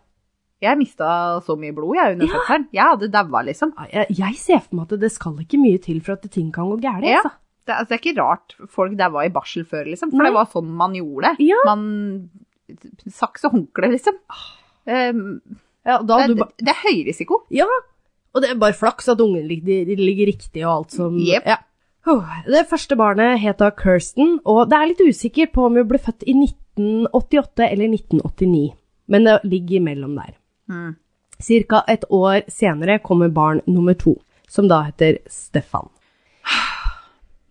B: Jeg mista så mye blod jeg under fødselen. Jeg hadde daua, liksom.
A: Jeg, jeg ser for meg at det skal ikke mye til for at ting kan gå gærent.
B: Ja.
A: altså.
B: Det, altså, det er ikke rart folk daua i barsel før, liksom. For
A: Nei.
B: det var sånn man gjorde det.
A: Ja.
B: Man Saks og håndkle, liksom. Um,
A: Ja, da
B: det,
A: du ba-
B: det er høy risiko.
A: ja. Og det er bare flaks at ungen ligger, de ligger riktig og alt som
B: Jep.
A: ja. Åh, Det første barnet het da Kirsten, og det er litt usikker på om hun ble født i 1988 eller 1989. Men det ligger imellom der.
B: Mm.
A: Cirka et år senere kommer barn nummer to, som da heter Stefan.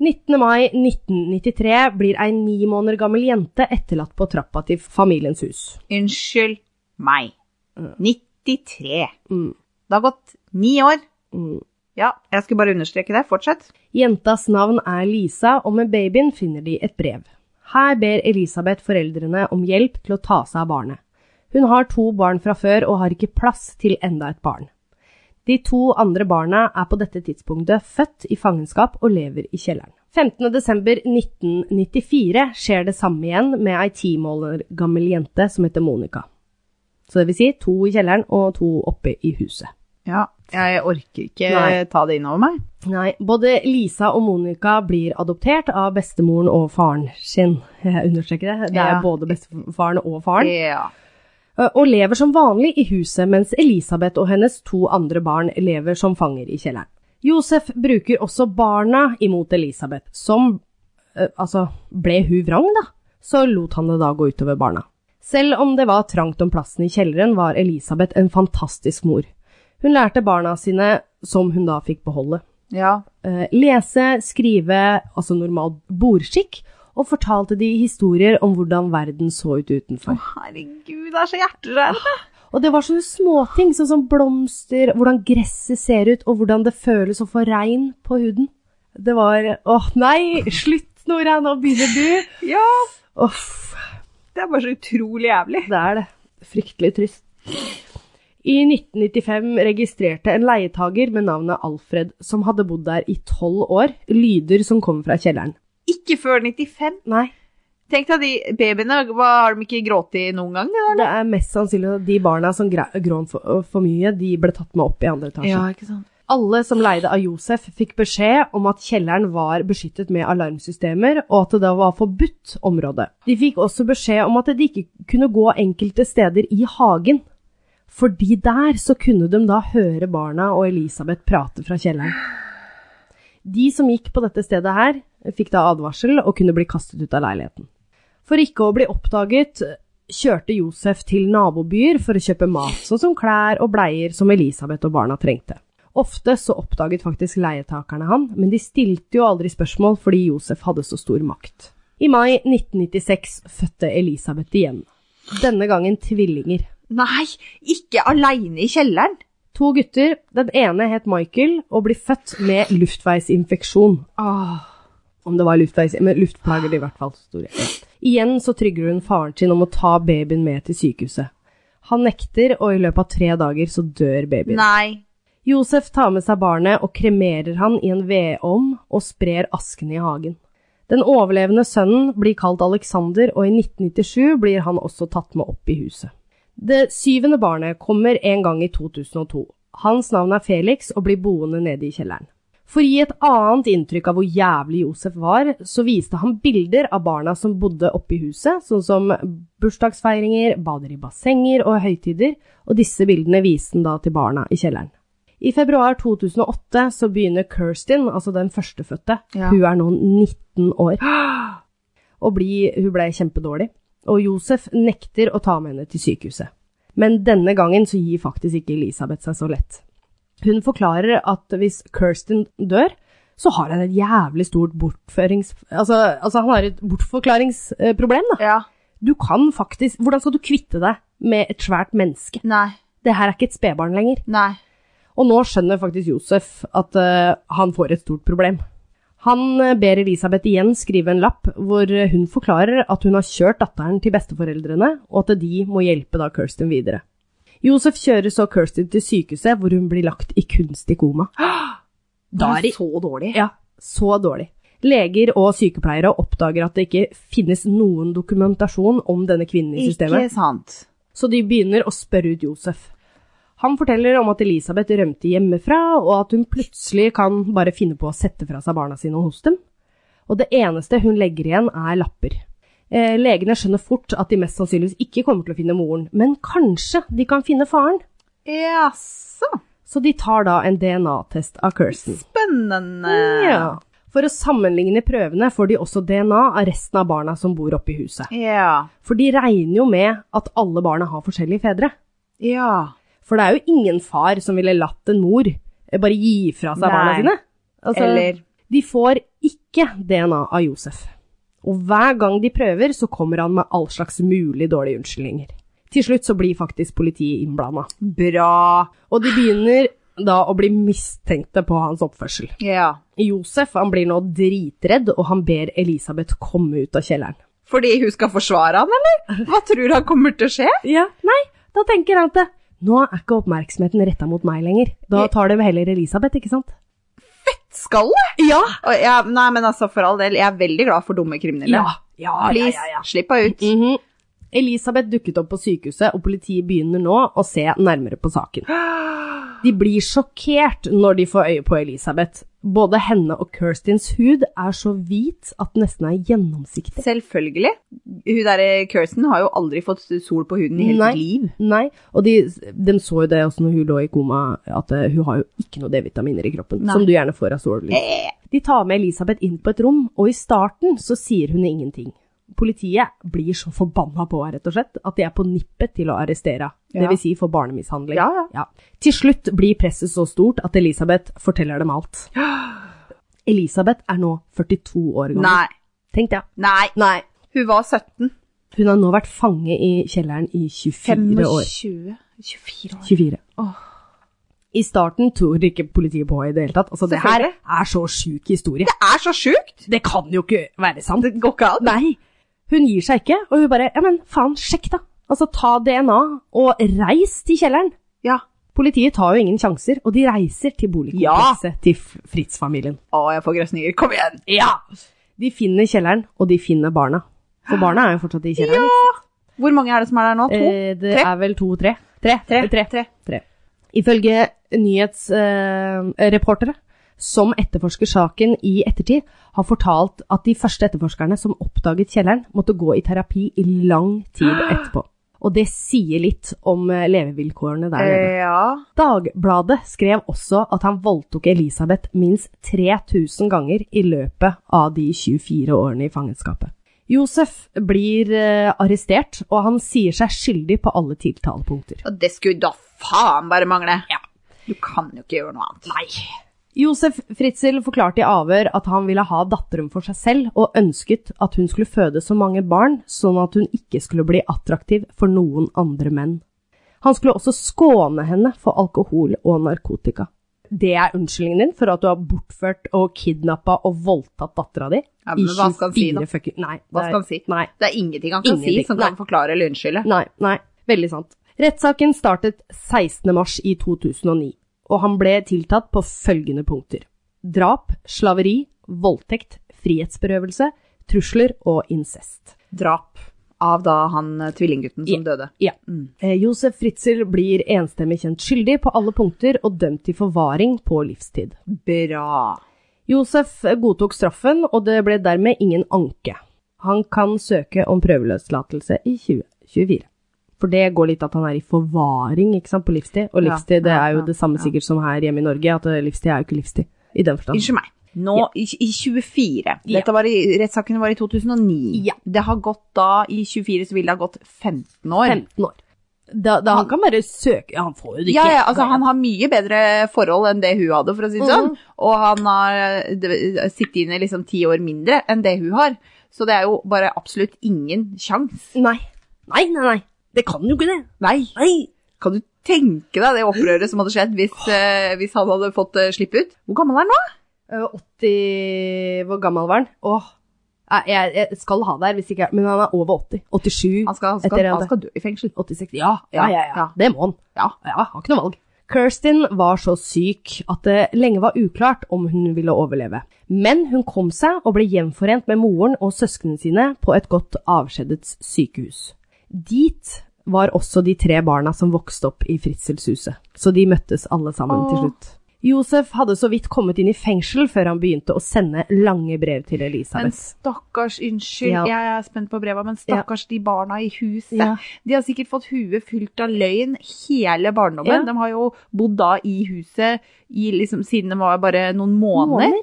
A: 19. mai 1993 blir ei ni måneder gammel jente etterlatt på trappa til familiens hus.
B: Unnskyld meg. 93.
A: Mm.
B: Det har gått ni år.
A: Mm.
B: Ja, jeg skulle bare understreke det. Fortsett.
A: Jentas navn er Lisa, og med babyen finner de et brev. Her ber Elisabeth foreldrene om hjelp til å ta seg av barnet. Hun har to barn fra før og har ikke plass til enda et barn. De to andre barna er på dette tidspunktet født i fangenskap og lever i kjelleren. 15.12.1994 skjer det samme igjen med ei ti måneder gammel jente som heter Monica. Så det vil si to i kjelleren og to oppe i huset.
B: Ja, jeg orker ikke
A: Nei.
B: ta det innover meg.
A: Nei, både Lisa og Monica blir adoptert av bestemoren og faren sin. Jeg understreker det. Det er
B: Ja.
A: både bestefaren og faren. Eh,
B: Ja.
A: Og lever som vanlig i huset, mens Elisabeth og hennes to andre barn lever som fanger i kjelleren. Josef bruker også barna imot Elisabeth, som eh, altså ble hun vrang, da. Så lot han det da gå utover barna. Selv om det var trangt om plassen i kjelleren, var Elisabeth en fantastisk mor. Hun lærte barna sine, som hun da fikk beholde
B: ja.
A: eh, lese, skrive, altså normal bordskikk, og fortalte de historier om hvordan verden så ut utenfor.
B: Herregud, det er så hjerterørende.
A: Og det var sånne småting, sånn som blomster, hvordan gresset ser ut, og hvordan det føles å få regn på huden. Det var Åh, nei! Slutt, Nora, nå begynner du!
B: Ja,
A: Uff.
B: det er bare så utrolig jævlig.
A: Det er det. Fryktelig trist. I 1995 registrerte en leietager med navnet Alfred, som hadde bodd der i tolv år, lyder som kom fra kjelleren.
B: Ikke før 95.
A: Nei,
B: Tenk deg de babyene, hva har de ikke grått i noen gang? Det
A: Det er mest sannsynlig at de barna som gra- grån for, for mye, de ble tatt med opp i andre etasje.
B: ikke sant.
A: Alle som leide av Josef fikk beskjed om at kjelleren var beskyttet med alarmsystemer, og at det da var forbudt område. De fikk også beskjed om at de ikke kunne gå enkelte steder i hagen, fordi der så kunne de da høre barna og Elisabeth prate fra kjelleren. De som gikk på dette stedet her, fikk da advarsel og kunne bli kastet ut av leiligheten. For ikke å bli oppdaget kjørte Josef til nabobyer for å kjøpe mat, sånn som klær og bleier som Elisabeth og barna trengte. Ofte så oppdaget faktisk leietakerne han, men de stilte jo aldri spørsmål fordi Josef hadde så stor makt. I mai 1996 fødte Elisabeth igjen. Denne gangen tvillinger.
B: Nei, ikke aleine i kjelleren!
A: To gutter, den ene het Michael og blir født med luftveisinfeksjon.
B: Åh,
A: Ah, Om det var luftveis, men luftplager i hvert fall. Stor Igjen så trygger hun faren sin om å ta babyen med til sykehuset. Han nekter, og i løpet av tre dager så dør babyen.
B: nei.
A: Josef tar med seg barnet og kremerer han i en vedovn og sprer asken i hagen. Den overlevende sønnen blir kalt Alexander, og i 1997 blir han også tatt med opp i huset. Det syvende barnet kommer en gang i 2002. Hans navn er Felix og blir boende nede i kjelleren. For å gi et annet inntrykk av hvor jævlig Josef var, så viste han bilder av barna som bodde oppe i huset, sånn som bursdagsfeiringer, bader i bassenger og høytider, og disse bildene viste han da til barna i kjelleren. I februar 2008 så begynner Kirstin, altså den førstefødte,
B: Ja.
A: hun er nå 19 år, og bli, hun ble kjempedårlig, og Josef nekter å ta med henne til sykehuset. Men denne gangen så gir faktisk ikke Elisabeth seg så lett. Hun forklarer at hvis Kirsten dør, så har han et jævlig stort bortførings... Altså, altså han har et bortforklaringsproblem, da.
B: Ja,
A: Du kan faktisk Hvordan skal du kvitte deg med et svært menneske?
B: nei,
A: Det her er ikke et spedbarn lenger.
B: nei.
A: Og nå skjønner faktisk Josef at eh, han får et stort problem. Han eh, ber Elisabeth igjen skrive en lapp hvor eh, hun forklarer at hun har kjørt datteren til besteforeldrene, og at de må hjelpe da Kirsten videre. Josef kjører så Kirsten til sykehuset, hvor hun blir lagt i kunstig koma. Da er
B: det
A: de-
B: så dårlig.
A: Ja, så dårlig. Leger og sykepleiere oppdager at det ikke finnes noen dokumentasjon om denne kvinnen i systemet.
B: Ikke sant.
A: Så de begynner å spørre ut Josef. Han forteller om at Elisabeth rømte hjemmefra, og at hun plutselig kan bare finne på å sette fra seg barna sine hos dem. Og det eneste hun legger igjen, er lapper. Eh, legene skjønner fort at de mest sannsynligvis ikke kommer til å finne moren, men kanskje de kan finne faren.
B: Jaså.
A: Så de tar da en DNA-test av Kirsten.
B: Spennende.
A: Ja. For å sammenligne prøvene får de også DNA av resten av barna som bor oppe i huset.
B: Ja.
A: For de regner jo med at alle barna har forskjellige fedre.
B: Ja.
A: For det er jo ingen far som ville latt en mor eh, bare gi fra seg
B: Nei.
A: barna sine. Altså,
B: Eller
A: De får ikke DNA av Josef. Og hver gang de prøver, så kommer han med all slags mulig dårlige unnskyldninger. Til slutt så blir faktisk politiet innblanda.
B: bra.
A: Og de begynner da å bli mistenkte på hans oppførsel.
B: Ja.
A: Josef han blir nå dritredd, og han ber Elisabeth komme ut av kjelleren.
B: Fordi hun skal forsvare han, eller? Hva tror du han kommer til å skje?
A: Ja, nei, da tenker han at det- nå er ikke oppmerksomheten retta mot meg lenger. Da tar de heller Elisabeth, ikke sant?
B: Skallet?
A: Ja!
B: Og ja, nei, men altså, for all del, jeg er veldig glad for dumme kriminelle.
A: Ja, ja,
B: Please,
A: ja, ja, ja.
B: slipp henne ut.
A: Mhm. Elisabeth dukket opp på sykehuset, og politiet begynner nå å se nærmere på saken. De blir sjokkert når de får øye på Elisabeth. Både henne og Kirstins hud er så hvit at den nesten er gjennomsiktig.
B: Selvfølgelig. Hun der eh, Kirsten har jo aldri fått sol på huden i hele
A: Nei.
B: sitt liv.
A: Nei, og de, de så jo det også når hun lå i koma, at eh, hun har jo ikke noe D-vitaminer i kroppen,
B: Nei.
A: som du gjerne får av sollys.
B: Eh,
A: De tar med Elisabeth inn på et rom, og i starten så sier hun ingenting. Politiet blir så forbanna på henne, rett og slett, at de er på nippet til å arrestere henne.
B: Ja.
A: Det vil si for barnemishandling.
B: Ja, ja.
A: Til slutt blir presset så stort at Elisabeth forteller dem alt. Elisabeth er nå 42 år gammel.
B: Nei.
A: Tenk det.
B: Nei.
A: Nei.
B: Hun var 17.
A: Hun har nå vært fange i kjelleren i 24 år.
B: 25. 24 år.
A: 24.
B: Åh.
A: I starten tror ikke politiet på henne i det hele tatt. Altså, det her
B: Selvfølgelig.
A: er så sjuk historie.
B: Det er så sjukt!
A: Det kan jo ikke være sant.
B: Det går ikke an.
A: Nei, hun gir seg ikke, og hun bare, ja, men faen, sjekk da. Altså, ta DNA og reis til kjelleren.
B: Ja.
A: Politiet tar jo ingen sjanser, og de reiser til boligkomplekset til F- Fritz-familien.
B: Å, jeg får grøsninger. Kom igjen!
A: Ja! De finner kjelleren, og de finner barna. For barna er jo fortsatt i kjelleren.
B: Ja! Hvor mange er det som er der nå? To?
A: Eh, det
B: Tre?
A: er vel to, tre. Tre,
B: Tre.
A: tre.
B: Tre.
A: tre. Ifølge nyhetsreportere som etterforsker saken i ettertid, har fortalt at de første etterforskerne som oppdaget kjelleren, måtte gå i terapi i lang tid etterpå. Og det sier litt om eh, levevilkårene der nede.
B: Eh, ja.
A: Dagbladet skrev også at han voldtok Elisabeth minst 3000 ganger i løpet av de 24 årene i fangenskapet. Josef blir eh, arrestert, og han sier seg skyldig på alle tiltalepunkter.
B: Og det skulle da faen bare mangle!
A: Ja.
B: Du kan jo ikke gjøre noe annet. Nei.
A: Josef Fritzel forklarte i avhør at han ville ha datteren for seg selv, og ønsket at hun skulle føde så mange barn, sånn at hun ikke skulle bli attraktiv for noen andre menn. Han skulle også skåne henne for alkohol og narkotika. Det er unnskyldningen din for at du har bortført og kidnappa og voldtatt dattera di?
B: Ja, men hva skal han si da?
A: fucking Nei.
B: Hva
A: det er-
B: skal han si?
A: Nei.
B: Det er ingenting han kan
A: Ingenting.
B: si som kan forklare eller unnskylde.
A: Nei, nei, veldig sant. Rettssaken startet 16. mars i 2009, og han ble tiltatt på følgende punkter. Drap, slaveri, voldtekt, frihetsberøvelse, trusler og incest.
B: Drap av da han eh, tvillinggutten som døde.
A: Ja.
B: Mm.
A: Eh, Josef Fritzel blir enstemmig kjent skyldig på alle punkter og dømt til forvaring på livstid.
B: Bra.
A: Josef godtok straffen, og det ble dermed ingen anke. Han kan søke om prøveløslatelse i 2024. For det går litt at han er i forvaring ikke sant, på livstid, og
B: Ja,
A: livstid det
B: ja,
A: er jo
B: ja,
A: det samme
B: ja.
A: sikkert som her hjemme i Norge, at eh, livstid er jo ikke livstid. I den forstand.
B: Unnskyld meg. Nå, i, i 24.
A: Ja.
B: Dette var i, rettssaken var i 2009.
A: Ja.
B: Det har gått da, i 24 så ville det ha gått 15 år.
A: 15 år. Da, da han, kan bare søke ja, Han får jo det ikke.
B: Ja, ja, altså han har mye bedre forhold enn det hun hadde, for å si det sånn.
A: Mhm.
B: Og han har eh, det- sittet inne liksom ti år mindre enn det hun har. Så det er jo bare absolutt ingen sjans.
A: Nei. Nei, nei, nei. Det kan jo ikke det.
B: Nei.
A: Nei.
B: Kan du tenke deg det opprøret som hadde skjedd hvis, eh, hvis han hadde fått eh, slippe ut? Hvor gammel er han nå?
A: Eh, 80 Hvor gammel var han? Åh. Nei, Jeg, jeg skal ha det her, hvis ikke jeg Men han er over 80. 87.
B: Han skal, han skal,
A: Etter det,
B: han
A: det.
B: skal dø i fengsel.
A: 86. Ja, ja,
B: Ja,
A: ja, ja.
B: ja.
A: Det må han.
B: Ja.
A: Ja, har ikke noe valg. Kirstin var så syk at det lenge var uklart om hun ville overleve. Men hun kom seg og ble gjenforent med moren og søsknene sine på et godt avskjedets sykehus. Dit var også de tre barna som vokste opp i Fritzelshuset, så de møttes alle sammen til
B: Åh.
A: slutt. Josef hadde så vidt kommet inn i fengsel før han begynte å sende lange brev til
B: Men
A: Elisabeth.
B: stakkars, unnskyld,
A: Ja.
B: jeg er spent på breva, men stakkars de barna i huset.
A: Ja.
B: De har sikkert fått huet fylt av løgn hele barndommen.
A: Ja.
B: De har jo bodd da i huset i, liksom, siden de var bare noen måneder.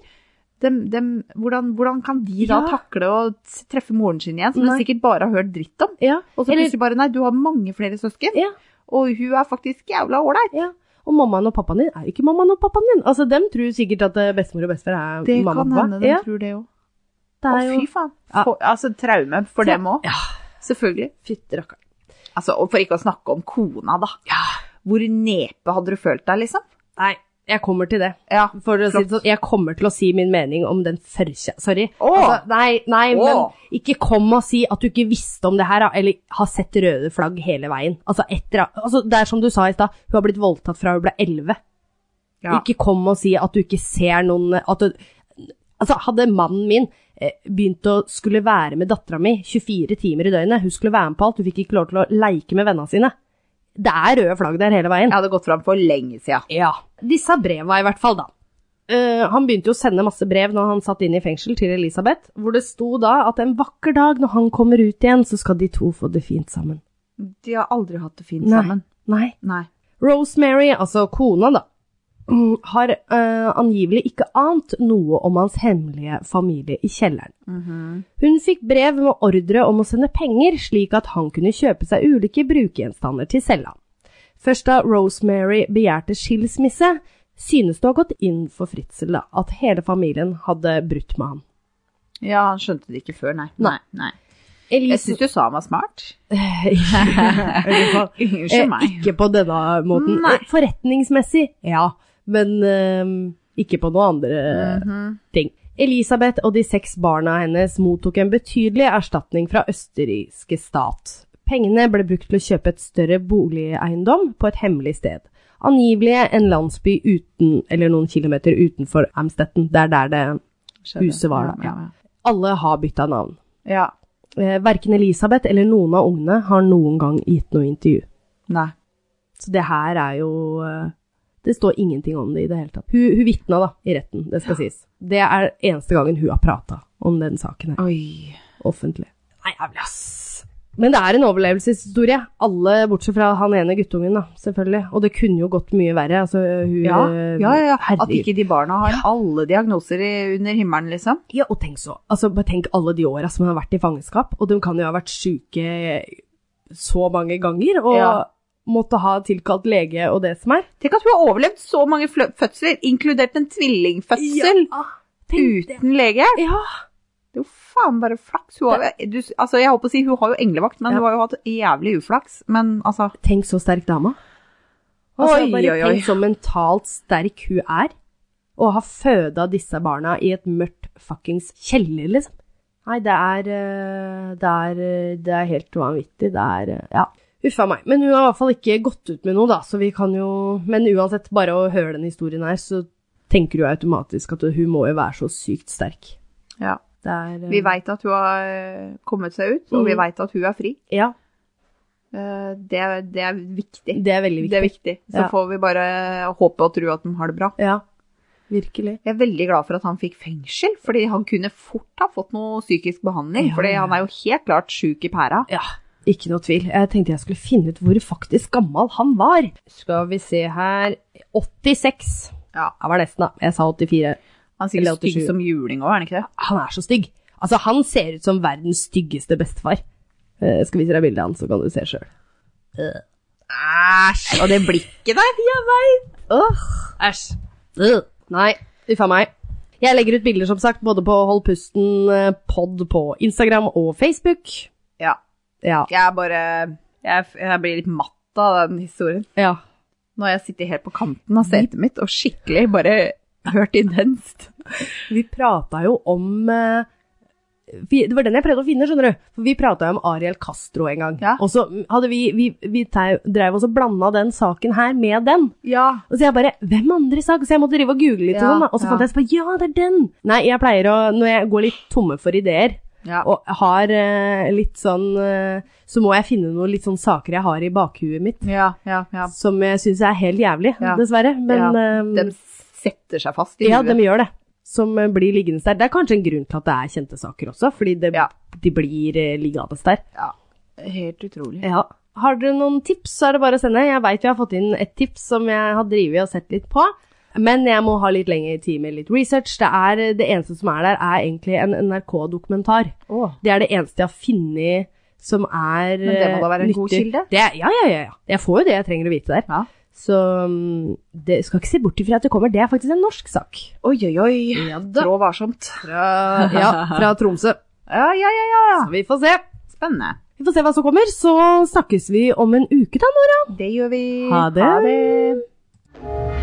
B: Dem- dem- hvordan, hvordan kan de da
A: Ja.
B: takle å t- treffe moren sin igjen, som
A: Nei.
B: de sikkert bare har hørt dritt om?
A: Ja.
B: Og så
A: Eller-
B: plutselig bare, nei, du har mange flere søsken,
A: Ja.
B: og hun er faktisk jævla ålreit.
A: Ja. Og mammaen og pappaen din er ikke mammaen og pappaen din. Altså, Dem tror sikkert at eh, bestemor og bestefar er
B: Det
A: mamma
B: kan
A: og pappa.
B: hende de
A: ja,
B: tror det òg.
A: det
B: Å,
A: er jo
B: fy faen.
A: Ja.
B: For, altså, traume for dem òg.
A: Ja.
B: Selvfølgelig.
A: Fytti rakkeren.
B: Altså, og for ikke å snakke om kona, da. Hvor nepe hadde du følt deg, liksom?
A: Nei, jeg kommer til det.
B: Ja,
A: For å si det
B: Flott.
A: sånn, jeg kommer til å si min mening om den førkja... Sorry.
B: Åh!
A: Altså, nei, nei,
B: Åh!
A: men ikke kom og si at du ikke visste om det her, da, eller har sett røde flagg hele veien. Altså, etter, altså, det er som du sa i stad, hun har blitt voldtatt fra hun ble 11.
B: Ja.
A: Ikke kom og si at du ikke ser noen at du, Altså, hadde mannen min eh, begynt å skulle være med dattera mi 24 timer i døgnet, hun skulle være med på alt, hun fikk ikke lov til å leike med vennene sine. Det er røde flagg der hele veien.
B: Jeg hadde gått fram for lenge siden.
A: Ja. Disse breva i hvert fall, da. Eh, han begynte jo å sende masse brev når han satt inn i fengsel til Elisabeth, hvor det sto da at en vakker dag når han kommer ut igjen, så skal de to få det fint sammen.
B: De har aldri hatt det fint
A: Nei.
B: sammen.
A: Nei.
B: Nei.
A: Rosemary, altså kona, da, mm, har eh, angivelig ikke ant noe om hans hemmelige familie i kjelleren. Hun fikk brev med ordre om å sende penger, slik at han kunne kjøpe seg ulike brukegjenstander til cella. Først da Rosemary begjærte skilsmisse, synes det å ha gått inn for Fritzel da, at hele familien hadde brutt med ham.
B: Ja, han skjønte det ikke før, nei.
A: Nei.
B: nei. Jeg
A: Elise
B: syns du sa han var smart.
A: Eh,
B: Unnskyld meg.
A: ikke på denne måten. Eh,
B: Nei.
A: Forretningsmessig, ja. Men eh, ikke på noen andre
B: Mhm.
A: ting. Elisabeth og de seks barna hennes mottok en betydelig erstatning fra østerrikske stat. Pengene ble brukt til å kjøpe et større boligeiendom på et hemmelig sted. Angivelig en landsby uten, eller noen kilometer utenfor Amstetten. Det er der det huset var da,
B: Ja, ja,
A: Alle har bytta navn.
B: ja. ja.
A: Eh, Verken Elisabeth eller noen av ungene har noen gang gitt noe intervju.
B: Nei.
A: Så det her er jo eh, Det står ingenting om det i det hele tatt. Hun, hun vitna da, i retten, det skal sies. Det er eneste gangen hun har prata om den saken her,
B: Oi.
A: offentlig. Nei, jævlig, ass. Men det er en overlevelseshistorie. Alle bortsett fra han ene guttungen, da, selvfølgelig. Og det kunne jo gått mye verre. Altså, hun,
B: Ja, ja, ja. ja. At
A: Herregud.
B: ikke de barna har alle diagnoser i- under himmelen, liksom.
A: Ja, og tenk så. Altså, bare tenk alle de åra som hun har vært i fangenskap. Og de kan jo ha vært syke så mange ganger. Og
B: Ja.
A: måtte ha tilkalt lege og det som er.
B: Tenk at hun har overlevd så mange flø- fødsler, inkludert en tvillingfødsel,
A: Ja, ah, tenk det.
B: uten lege.
A: Ja.
B: Det er jo faen bare flaks. Hun har, du, altså, jeg holdt på å si hun har jo englevakt, men
A: Ja.
B: hun har jo hatt jævlig uflaks. Men altså
A: Tenk så sterk dama. Altså,
B: Oi,
A: bare
B: oi, oi.
A: tenk så mentalt sterk hun er. Og har føda disse barna i et mørkt fuckings kjeller, liksom. Nei, det er eh, Det er, eh, det er helt vanvittig. Det er eh, Ja. Uff a meg. Men hun har i hvert fall ikke gått ut med noe, da, så vi kan jo Men uansett, bare å høre den historien her, så tenker du automatisk at hun må jo være så sykt sterk.
B: ja.
A: Det er eh,
B: Vi veit at hun har eh, kommet seg ut, og vi
A: Mhm.
B: veit at hun er fri.
A: Ja,
B: Eh, Det, er- det er viktig.
A: det er veldig viktig.
B: Det er viktig. Så
A: Ja.
B: får vi bare håpe og tro at de har det bra.
A: Ja. Virkelig.
B: Jeg er veldig glad for at han fikk fengsel, fordi han kunne fort ha fått noe psykisk behandling.
A: Ja,
B: fordi
A: ja.
B: han er jo helt klart sjuk i pæra.
A: Ja, ikke noe tvil. Jeg tenkte jeg skulle finne ut hvor faktisk gammel han var. Skal vi se her 86.
B: Ja.
A: Han var nesten, da. Jeg sa 84.
B: Han er
A: Eller
B: sikkert
A: åttisju.
B: stygg som juling òg, er han ikke det?
A: Han er så stygg. Altså, han ser ut som verdens styggeste bestefar. Eh, skal vise deg bildet av han, så kan du se sjøl.
B: Æsj! Og det blikket der! Jeg veit!
A: Åh, æsj. Øh. Nei, uff a meg. Jeg legger ut bilder, som sagt, både på Hold pusten eh, pod på Instagram og Facebook.
B: Ja.
A: Ja.
B: Jeg er bare jeg, jeg blir litt matt av den historien.
A: ja.
B: Nå har jeg sittet helt på kanten av setet mitt og skikkelig bare hørt intenst.
A: Vi prata jo om eh, vi, Det var den jeg prøvde å finne, skjønner du. For vi prata jo om Ariel Castro en gang.
B: Ja.
A: Og så hadde vi, vi, vi tei- dreiv oss og blanda den saken her med den.
B: Ja.
A: Og så jeg bare Hvem andre sak? Så jeg måtte drive og google litt og
B: Ja,
A: sånn, da. Og så
B: ja.
A: fant jeg så på Ja, det er den! Nei, jeg pleier å Når jeg går litt tomme for ideer
B: Ja.
A: og har eh, litt sånn eh, Så må jeg finne noen litt sånn saker jeg har i bakhuet mitt.
B: ja, ja, ja.
A: Som jeg syns er helt jævlig,
B: Ja.
A: dessverre. Men
B: Ja,
A: eh,
B: De setter seg fast i
A: ja,
B: huet.
A: de gjør det. Som eh, blir liggende der. Det er kanskje en grunn til at det er kjente saker også, fordi det,
B: Ja.
A: de blir eh, liggende der.
B: Ja. Helt utrolig.
A: Ja. Har dere noen tips, så er det bare å sende. Jeg veit vi har fått inn et tips som jeg har drevet og sett litt på. Men jeg må ha litt lengre tid med litt research. Det, er, eh, det eneste som er der, er egentlig en NRK-dokumentar.
B: Åh.
A: Det er det eneste jeg har funnet som er
B: Men det må da være en
A: eh,
B: god
A: nyttig.
B: kilde?
A: Det, er- ja, ja, ja, ja. Jeg får jo det jeg trenger å vite der.
B: Ja.
A: Så mm, det skal ikke se bort ifra at det kommer. Det er faktisk en norsk sak.
B: Oi, oi, oi.
A: Ja da.
B: Trå varsomt.
A: Fra, ja, fra Tromsø.
B: Ja, ja, ja, ja.
A: Så vi får se.
B: Spennende.
A: Vi får se hva som kommer, så snakkes vi om en uke da, Nora.
B: Det gjør vi.
A: Ha det.
B: Ha det.